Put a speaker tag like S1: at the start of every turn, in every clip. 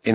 S1: In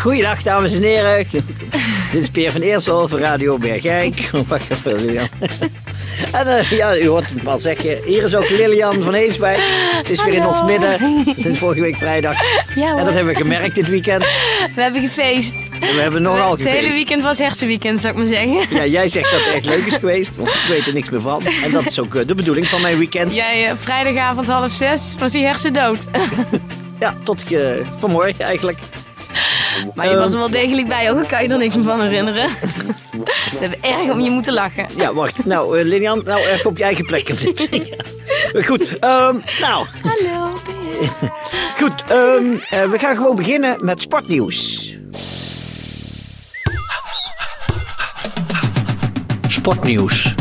S2: Goeiedag, dames en heren. Dit is Peer van Eersel van Radio Bergijk. Wacht even, Lilian. En eh, ja, u hoort het wel zeggen. Hier is ook Lilian van Heeswijk. Ze is weer in ons
S3: Hallo.
S2: midden sinds vorige week vrijdag.
S3: Ja, hoor.
S2: en dat hebben we gemerkt dit weekend.
S3: We hebben gefeest.
S2: En we hebben nogal
S3: Het hele
S2: gefeest.
S3: weekend was hersenweekend, zou ik maar zeggen.
S2: Ja, jij zegt dat het echt leuk is geweest, want ik weet er niks meer van. En dat is ook eh, de bedoeling van mijn weekend.
S3: Jij, eh, vrijdagavond half zes was hij hersendood.
S2: Ja, tot eh, vanmorgen eigenlijk.
S3: Maar je was
S4: Ehm.
S3: er wel degelijk bij, ook al kan je er niks meer van herinneren. We hebben erg om je moeten lachen.
S2: Ja, wacht. Nou, eh, Lilian, nou even op je eigen plek gaan zitten. Ja. Goed, ehm, nou,
S3: Hallo.
S2: Goed, ehm, eh, we gaan gewoon beginnen met sportnieuws.
S5: Sportnieuws.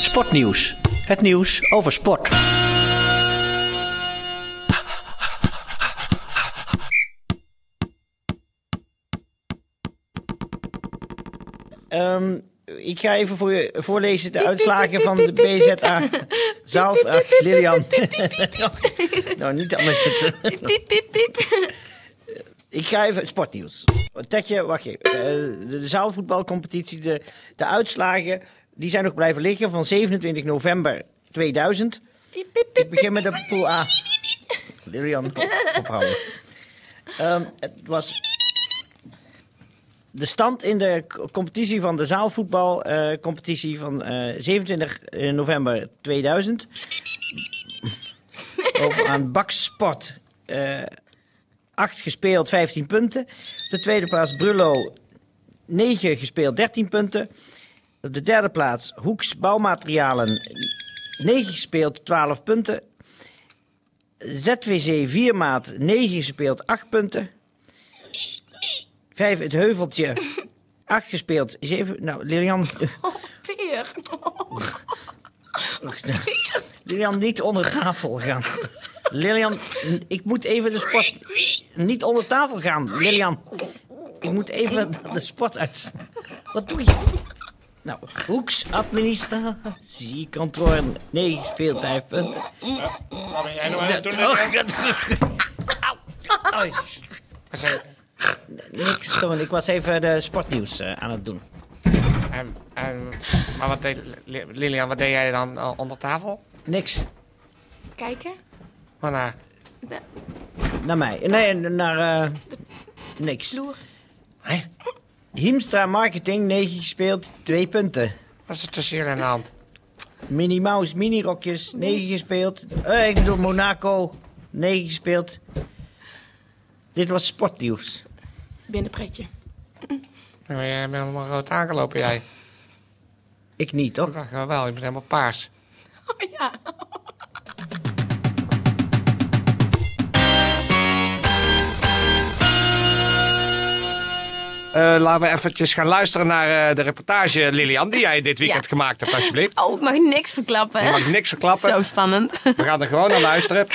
S5: Sportnieuws. Het nieuws over sport.
S2: Ehm, ik ga even voor je voorlezen de uitslagen van de BZA. Zelf, ach, Lilian. nou, niet anders zitten.
S3: Piep, piep, piep.
S2: Ik ga even sportnieuws. Tetje, wacht even. Eh, de zaalvoetbalcompetitie, de, de uitslagen, die zijn nog blijven liggen van 27 november 2000. Ik begin met de pool A. Lilian, op- ophouden. Ehm, het was... De stand in de co- competitie van de zaalvoetbalcompetitie competitie van eh, 27 november 2000. Over aan Baksport. eh 8 gespeeld, 15 punten. Op de tweede plaats Brullo, 9 gespeeld, 13 punten. Op de derde plaats Hoeks Bouwmaterialen, 9 gespeeld, 12 punten. ZWC Viermaat, 9 gespeeld, 8 punten. 5 Het Heuveltje, 8 gespeeld, 7... Nou, Lilian...
S3: Peer.
S2: Lilian, niet onder tafel gaan. Lilian, n- ik moet even de sport... Niet onder tafel gaan, Lilian. Ik moet even de sport uit... Wat doe je? Nou, Hoeks, administratie, kantoor 9 speelt 5 punten. Oh, God. Au. Au, Oh, jezus. Niks doen, ik was even de sportnieuws eh, aan het doen.
S4: En, en, maar wat deed, Li- Lilian, wat deed jij dan eh, onder tafel?
S2: Niks,
S3: Kijken.
S4: Maar nou,
S2: naar mij. Nee, naar... eh, niks.
S3: Loer.
S4: hè?
S2: Hiemstra Marketing, 9 gespeeld, 2 punten.
S4: Wat is er tussen hier aan de hand?
S2: Minnie Mouse, Mini Rokjes, 9 gespeeld. Eh, ik bedoel Monaco, 9 gespeeld. Dit was sportnieuws.
S3: Binnenpretje.
S4: Je bent helemaal rood aangelopen, jij.
S2: Ik niet,
S4: Ik
S2: toch?
S4: dacht wel, je bent helemaal paars.
S3: Oh ja.
S4: Eh, laten we eventjes gaan luisteren naar eh, de reportage, Lilian, die jij dit weekend
S3: Ja.
S4: gemaakt hebt, alsjeblieft.
S3: Oh, ik mag niks verklappen.
S4: Je mag niks verklappen.
S3: Zo spannend.
S4: We gaan er gewoon naar luisteren.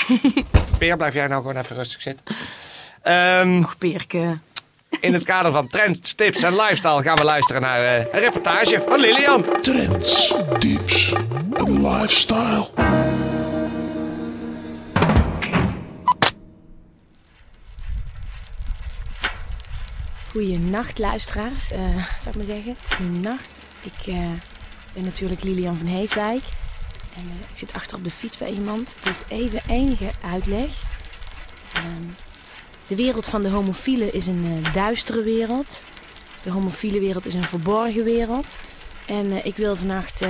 S4: Peer, blijf jij nou gewoon even rustig zitten. Ehm,
S3: Peerke.
S4: in het kader van trends, tips en lifestyle gaan we luisteren naar eh, een reportage van Lilian.
S6: Trends, tips en lifestyle.
S7: Goeienacht luisteraars, eh, zou ik maar zeggen. Het is nu nacht. Ik eh, ben natuurlijk Lilian van Heeswijk. En eh, ik zit achter op de fiets bij iemand. Die heeft e- even enige uitleg. Ehm, de wereld van de homofielen is een eh, duistere wereld. De homofiele wereld is een verborgen wereld. En eh, ik wil vannacht eh,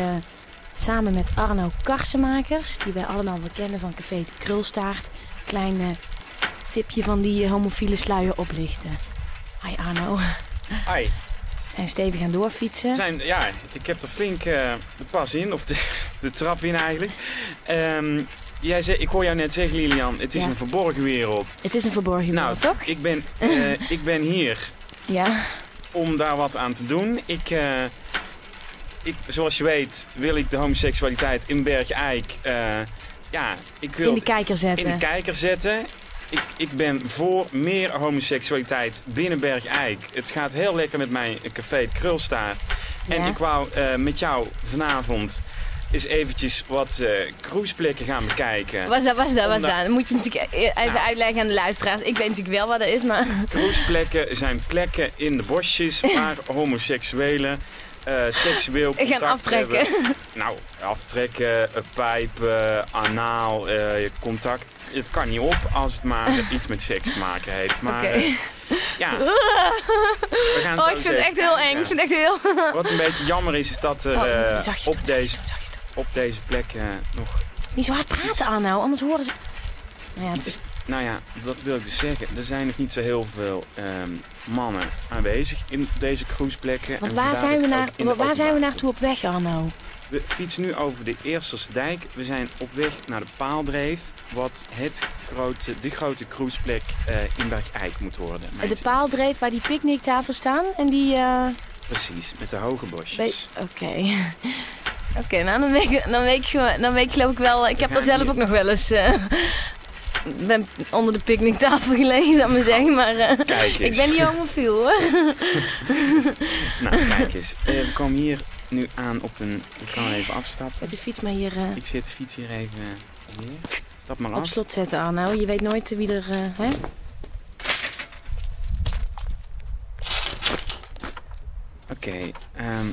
S7: samen met Arno Karsenmakers, die wij allemaal wel kennen van Café de Krulstaart, een klein eh, tipje van die eh, homofiele sluier oplichten. Hi Arno.
S4: Hi.
S7: zijn stevig aan doorfietsen.
S8: Zijn, ja, ik heb er flink eh, de pas in, of de, de trap in eigenlijk. Ehm, jij zei, ik hoor jou net zeggen, Lilian, het is
S7: Ja.
S8: een verborgen wereld.
S7: Het is een verborgen
S8: Nou,
S7: wereld, toch?
S8: Ik ben, eh, ik ben hier
S7: Ja,
S8: om daar wat aan te doen. Ik, eh, ik, zoals je weet wil ik de homoseksualiteit in Berg Eik... eh, ja, ik wil
S7: in de kijker zetten.
S8: in de kijker zetten. Ik, ik ben voor meer homoseksualiteit binnen Bergijk. Het gaat heel lekker met mijn café Het Krulstaart. En
S7: Ja.
S8: ik wou eh, met jou vanavond eens eventjes wat eh cruiseplekken gaan bekijken.
S3: Was dat, was dat, was
S8: Omdat-
S3: dat. Dan moet je natuurlijk e- even
S8: Nou.
S3: uitleggen aan de luisteraars. Ik weet natuurlijk wel wat dat is, maar...
S8: Cruiseplekken zijn plekken in de bosjes waar homoseksuelen eh, seksueel
S3: Gaan
S8: contact
S3: aftrekken.
S8: hebben. Nou, aftrekken, eh, pijpen, anaal, eh, contact. Het kan niet op als het maar iets met seks te maken heeft. Maar
S3: Oké.
S8: eh, ja, We gaan
S3: Oh,
S8: zo
S3: ik vind het
S8: eens
S3: echt heel eng.
S8: Ja.
S3: Ik vind het echt heel...
S8: Wat een beetje jammer is, is dat er
S7: Oh,
S8: eh,
S7: moet- zachtjes
S8: op,
S7: doen,
S8: deze,
S7: zachtjes doen, zachtjes doen.
S8: op deze plek eh, nog...
S7: Niet zo hard praten, Arno, anders horen ze... Nou ja, het is...
S8: Nou ja, wat wil ik dus zeggen? Er zijn nog niet zo heel veel ehm, mannen aanwezig in deze cruiseplekken.
S7: Want
S8: En
S7: waar
S8: vandaar
S7: zijn,
S8: dat
S7: we
S8: ik
S7: naar,
S8: ook in de
S7: waar waar zijn we
S8: openbaar-
S7: naartoe op weg, Arno?
S8: We fietsen nu over de Eerstersdijk. We zijn op weg naar de Paaldreef, wat het grote, de grote cruiseplek eh in Bergijk moet worden. mijn
S7: De
S8: zin.
S7: paaldreef waar die picknicktafels staan en die... eh,
S8: Precies, met de hoge
S7: bij-
S8: bosjes.
S7: Oké.
S3: Oké, nou, dan weet, ik, dan, weet ik, gewoon- dan weet ik geloof ik wel... Ik heb daar zelf ook nog wel eens... eh, ben onder de picknicktafel gelegen, zou ik maar zeggen. Maar eh,
S8: Kijk
S3: ik
S8: eens.
S3: ben niet homofiel, hoor.
S8: Nou, kijk eens. Eh, we komen hier nu aan op een... Ik kan even afstappen.
S7: Zet de fiets maar hier eh,
S8: Ik zit de fiets hier even neer. Stap maar
S7: op
S8: af.
S7: slot zetten, Arno. Je weet nooit wie er... eh, hè?
S8: Oké, ehm,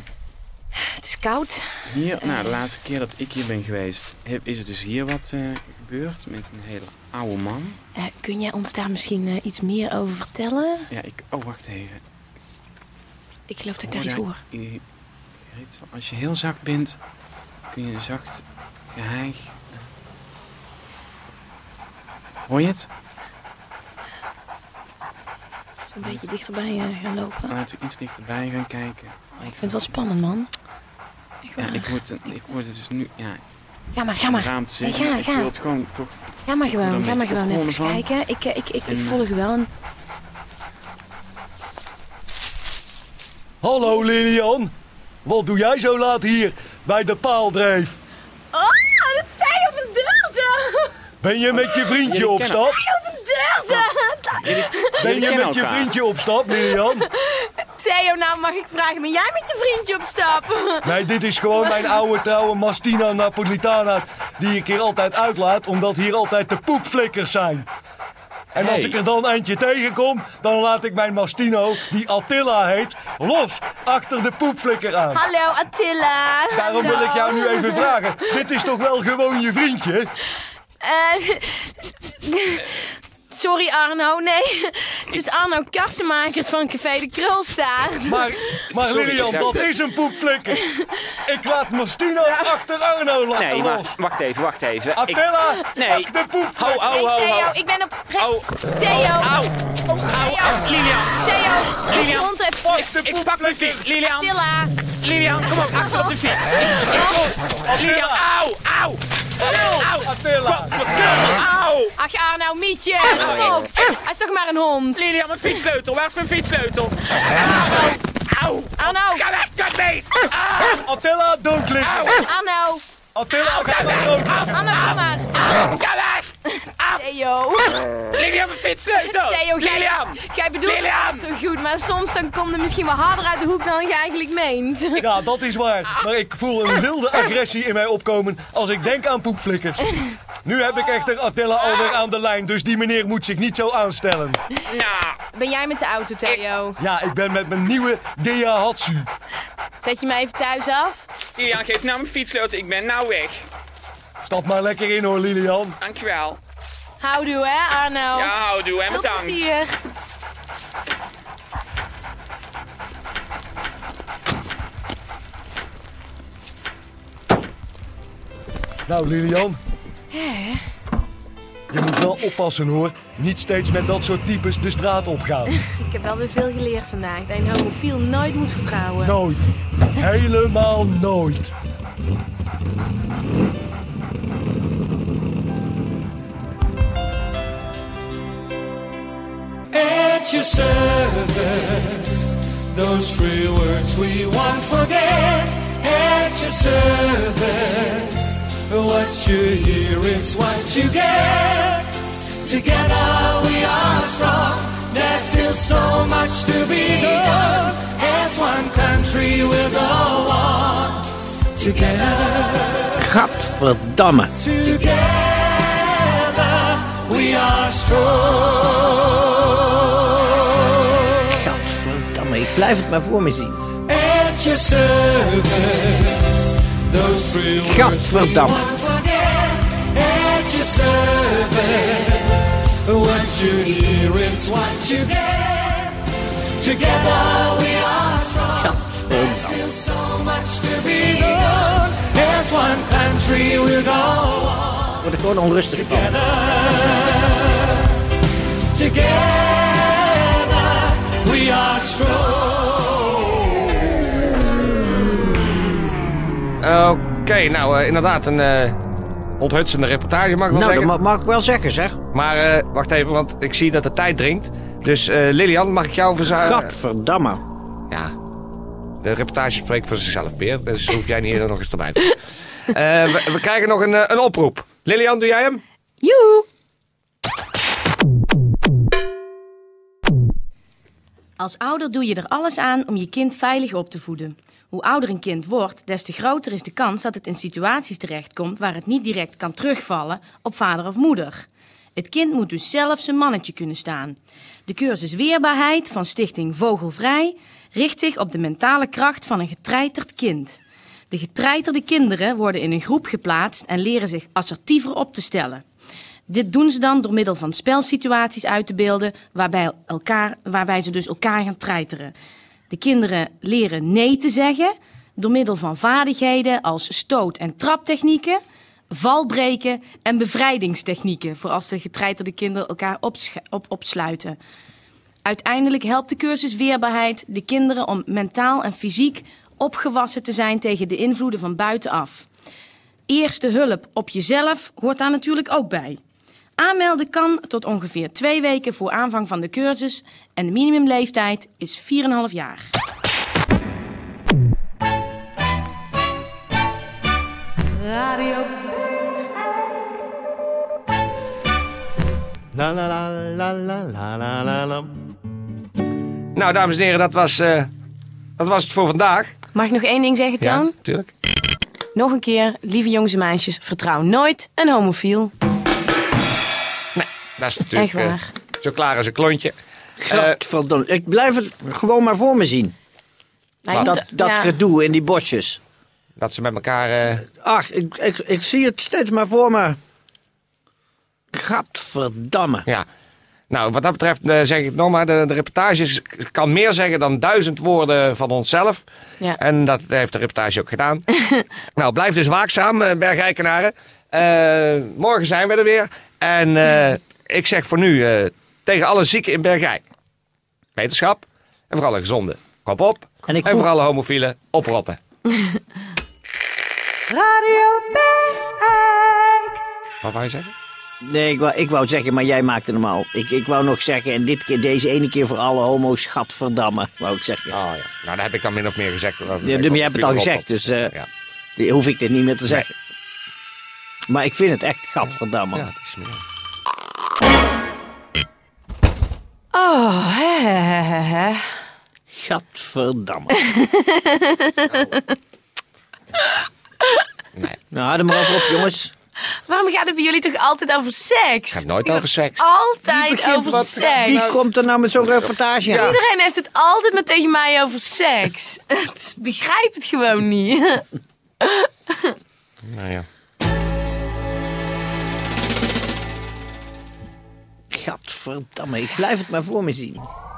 S7: Het is koud.
S8: hier, nou, de laatste keer dat ik hier ben geweest, heb, is er dus hier wat eh, gebeurd met een hele oude man.
S7: Eh, kun jij ons daar misschien eh, iets meer over vertellen?
S8: Ja, ik, oh, wacht even.
S7: Ik geloof dat ik daar iets
S8: jij-
S7: hoor.
S8: i- geritsel? Als je heel zacht bent, kun je zacht geheig. Hoor je het?
S7: Een beetje dichterbij eh, gaan lopen.
S8: Laten we iets dichterbij gaan kijken.
S7: Ik vind het wel spannend, man. Echt
S8: Ja,
S7: waar.
S8: ik word, ik word het dus nu, ja,
S7: Ga maar, ga
S8: een
S7: maar.
S8: raam te
S7: Nee,
S8: zeggen.
S7: ga,
S8: ik
S7: ga.
S8: wil het gewoon toch
S7: Ga maar
S8: Dan
S7: gewoon, ga
S8: ben
S7: maar
S8: ik er
S7: gewoon even eens
S8: gewoon
S7: kijken. Ik, eh, ik, ik, ik
S8: En, eh,
S7: volg je wel. En
S9: Hallo Lilian, wat doe jij zo laat hier bij de paaldreef?
S3: Oh, de tijd op een deurze!
S9: Ben je met je vriendje
S8: Jullie
S9: op
S8: kennen-
S9: stap?
S3: Deurze!
S9: Ben je
S8: kennen
S9: met je
S8: elkaar.
S9: vriendje op stap, Lilian?
S3: Theo, nou mag ik vragen, ben jij met je vriendje op stap?
S9: Nee, dit is gewoon mijn oude trouwe Mastina Napolitana die ik hier altijd uitlaat, omdat hier altijd de poepflikkers zijn. En als
S8: Hey.
S9: ik er dan eentje tegenkom, dan laat ik mijn Mastino, die Attila heet, los achter de poepflikker aan.
S3: Hallo Attila.
S9: Daarom wil ik jou nu even vragen, dit is toch wel gewoon je vriendje?
S3: Eh, sorry Arno, nee. Het is Arno Kassenmakers van Café de Krulstaart.
S9: Maar, maar
S8: Sorry,
S9: Lilian,
S8: ik heb
S9: dat
S8: de-
S9: is een poepflikker. Ik laat Mastino achter Arno laten
S8: Nee,
S9: los.
S8: maar wacht even, wacht even. Ik,
S9: Attila,
S8: nee.
S9: pak de
S8: ho,
S9: poepflikker.
S8: ho, ho,
S3: Hey, Theo,
S8: ho.
S3: ik ben op...
S8: Au,
S3: Theo,
S8: au,
S3: Theo,
S8: Lilian,
S3: Theo, ik
S8: Lilian.
S3: stond even...
S8: Ik, ik pak mijn fiets, Lilian.
S3: Attila.
S8: Lilian, kom op, achter op de fiets. Ik- ik- Lilian, au, au. Au,
S9: Attila.
S8: verdomme, au.
S3: Ach Arno, Mietje,
S8: Oh,
S3: kom op. Hij is toch maar een hond.
S8: Lilian, mijn fietssleutel, waar is mijn fietssleutel? Au, au.
S3: Arno,
S8: Kom weg, kutbeest.
S9: Attila, don't lick.
S3: Arno,
S9: Attila, ga maar dood.
S3: Arno, kom maar.
S8: Kom weg.
S3: Theo.
S8: Lilian, mijn fietssleutel.
S3: Theo, jij,
S8: Lilian.
S3: jij bedoelt
S8: Lilian.
S3: het zo goed, maar soms dan komt er misschien wel harder uit de hoek dan je eigenlijk meent.
S9: Ja, dat is waar. Maar ik voel een wilde agressie in mij opkomen als ik denk aan poepflikkers. Nu heb ik echter Attila alweer aan de lijn, dus die meneer moet zich niet zo aanstellen.
S8: Nou,
S3: Ben jij met de auto, Theo?
S9: Ja, ik ben met mijn nieuwe Daihatsu.
S3: Zet je mij even thuis af?
S8: Lilian, geef nou mijn fietssleutel, ik ben nou weg.
S9: Stap maar lekker in hoor, Lilian.
S8: Dankjewel.
S3: Houdoe, hè, Arno?
S8: Ja, houdoe en
S3: Veel
S8: bedankt.
S3: plezier.
S9: Nou, Lilian. Je moet wel oppassen hoor. Niet steeds met dat soort types de straat opgaan.
S7: Ik heb wel weer veel geleerd vandaag. Dat je een homofiel nooit moet vertrouwen.
S9: Nooit. Helemaal nooit.
S10: at your service. Those free words we won't forget at your service. What you hear is what you get. Together we are strong. There's still so much to be done. As one country we'll go on. Together.
S5: Gadverdamme.
S10: Together we are strong.
S2: Gadverdamme, ik blijf het maar voor me zien.
S10: At your service, those three words we
S5: Gadverdamme.
S10: won't forget. At your service, what you hear is what you get. Together we are strong. There's still so much to be done. As one country we'll go on.
S2: Ik word er gewoon onrustig van.
S10: Together we are strong.
S4: Oké, nou eh, inderdaad, een eh, onthutsende reportage mag ik wel
S2: Nou, dat
S4: zeggen.
S2: ma- mag ik wel zeggen, zeg.
S4: Maar eh, wacht even, want ik zie dat de tijd dringt. Dus eh, Lilian, mag ik jou
S2: Eh,
S4: verzuilen?
S2: Gadverdamme.
S4: Ja. De reportage spreekt voor zichzelf, Peer. Dus hoef jij niet eerder nog eens erbij te doen. Eh, we, we krijgen nog een, eh, een oproep. Lilian, doe jij hem?
S3: Joehoe! Als ouder doe je er alles aan om je kind veilig op te voeden. Hoe ouder een kind wordt, des te groter is de kans dat het in situaties terechtkomt waar het niet direct kan terugvallen op vader of moeder. Het kind moet dus zelf zijn mannetje kunnen staan. De cursus Weerbaarheid van Stichting Vogelvrij richt zich op de mentale kracht van een getreiterd kind. De getreiterde kinderen worden in een groep geplaatst en leren zich assertiever op te stellen. Dit doen ze dan door middel van spelsituaties uit te beelden waarbij, elkaar, waarbij ze dus elkaar gaan treiteren. De kinderen leren nee te zeggen door middel van vaardigheden als stoot- en traptechnieken, valbreken en bevrijdingstechnieken voor als de getreiterde kinderen elkaar opsche- op, opsluiten. Uiteindelijk helpt de cursus Weerbaarheid de kinderen om mentaal en fysiek opgewassen te zijn tegen de invloeden van buitenaf. Eerste hulp op jezelf hoort daar natuurlijk ook bij. Aanmelden kan tot ongeveer twee weken voor aanvang van de cursus en de minimumleeftijd is 4,5 jaar.
S11: La la la la la la la la la.
S4: Nou, dames en heren, dat was, eh, dat was het voor vandaag.
S7: Mag ik nog één ding zeggen, Toon?
S4: natuurlijk.
S7: Nog een keer, lieve jongens en meisjes, vertrouw nooit een homofiel.
S4: Dat is natuurlijk
S7: Echt
S4: eh,
S7: waar.
S4: zo klaar als een klontje.
S2: eh,
S4: Eh,
S2: Gadverdamme. Ik blijf het gewoon maar voor me zien.
S7: Lijkt
S2: Dat,
S7: het-
S2: dat
S7: ja.
S2: gedoe in die bosjes.
S4: Dat ze met elkaar... eh,
S2: Ach, ik, ik, ik zie het steeds maar voor me. Gadverdamme.
S4: ja. Nou, wat dat betreft eh, zeg ik nog maar, de, de reportage is- kan meer zeggen dan duizend woorden van onszelf.
S7: Ja.
S4: En dat heeft de reportage ook gedaan. nou, blijf dus waakzaam, eh, bergrijkenaren. Eh, morgen zijn we er weer. En eh, ik zeg voor nu eh, tegen alle zieken in Bergrijk. Wetenschap en vooral alle gezonden. Kop op.
S2: En ik
S4: en
S2: voeg-
S4: voor alle homofielen, oprotten. Wat wou je zeggen?
S2: Nee, ik wou, ik wou zeggen, maar jij maakte hem al. Ik, ik wou nog zeggen, en dit keer, deze ene keer voor alle homo's, gadverdamme, wou ik zeggen.
S4: Oh, ja. Nou, dat heb ik dan min of meer gezegd. Ja,
S2: Ja, maar jij hebt het al gezegd, dus eh,
S4: Ja.
S2: die- hoef ik dit niet meer te zeggen. Maar ik vind het echt gadverdamme.
S4: Ja, het is meer.
S7: Oh, hè, hè, hè, hè, hè.
S2: Gadverdamme. Nou, hou er maar over op, jongens.
S7: Waarom gaat het bij jullie toch altijd over seks?
S4: Ik heb nooit over seks.
S3: Oh.
S7: Altijd over seks.
S2: Wie komt er nou met zo'n reportage aan?
S7: Iedereen heeft het altijd maar tegen mij over seks. Het is- Begrijp het gewoon niet.
S4: Nou, ja.
S2: Gadverdamme, ik blijf het maar voor me zien.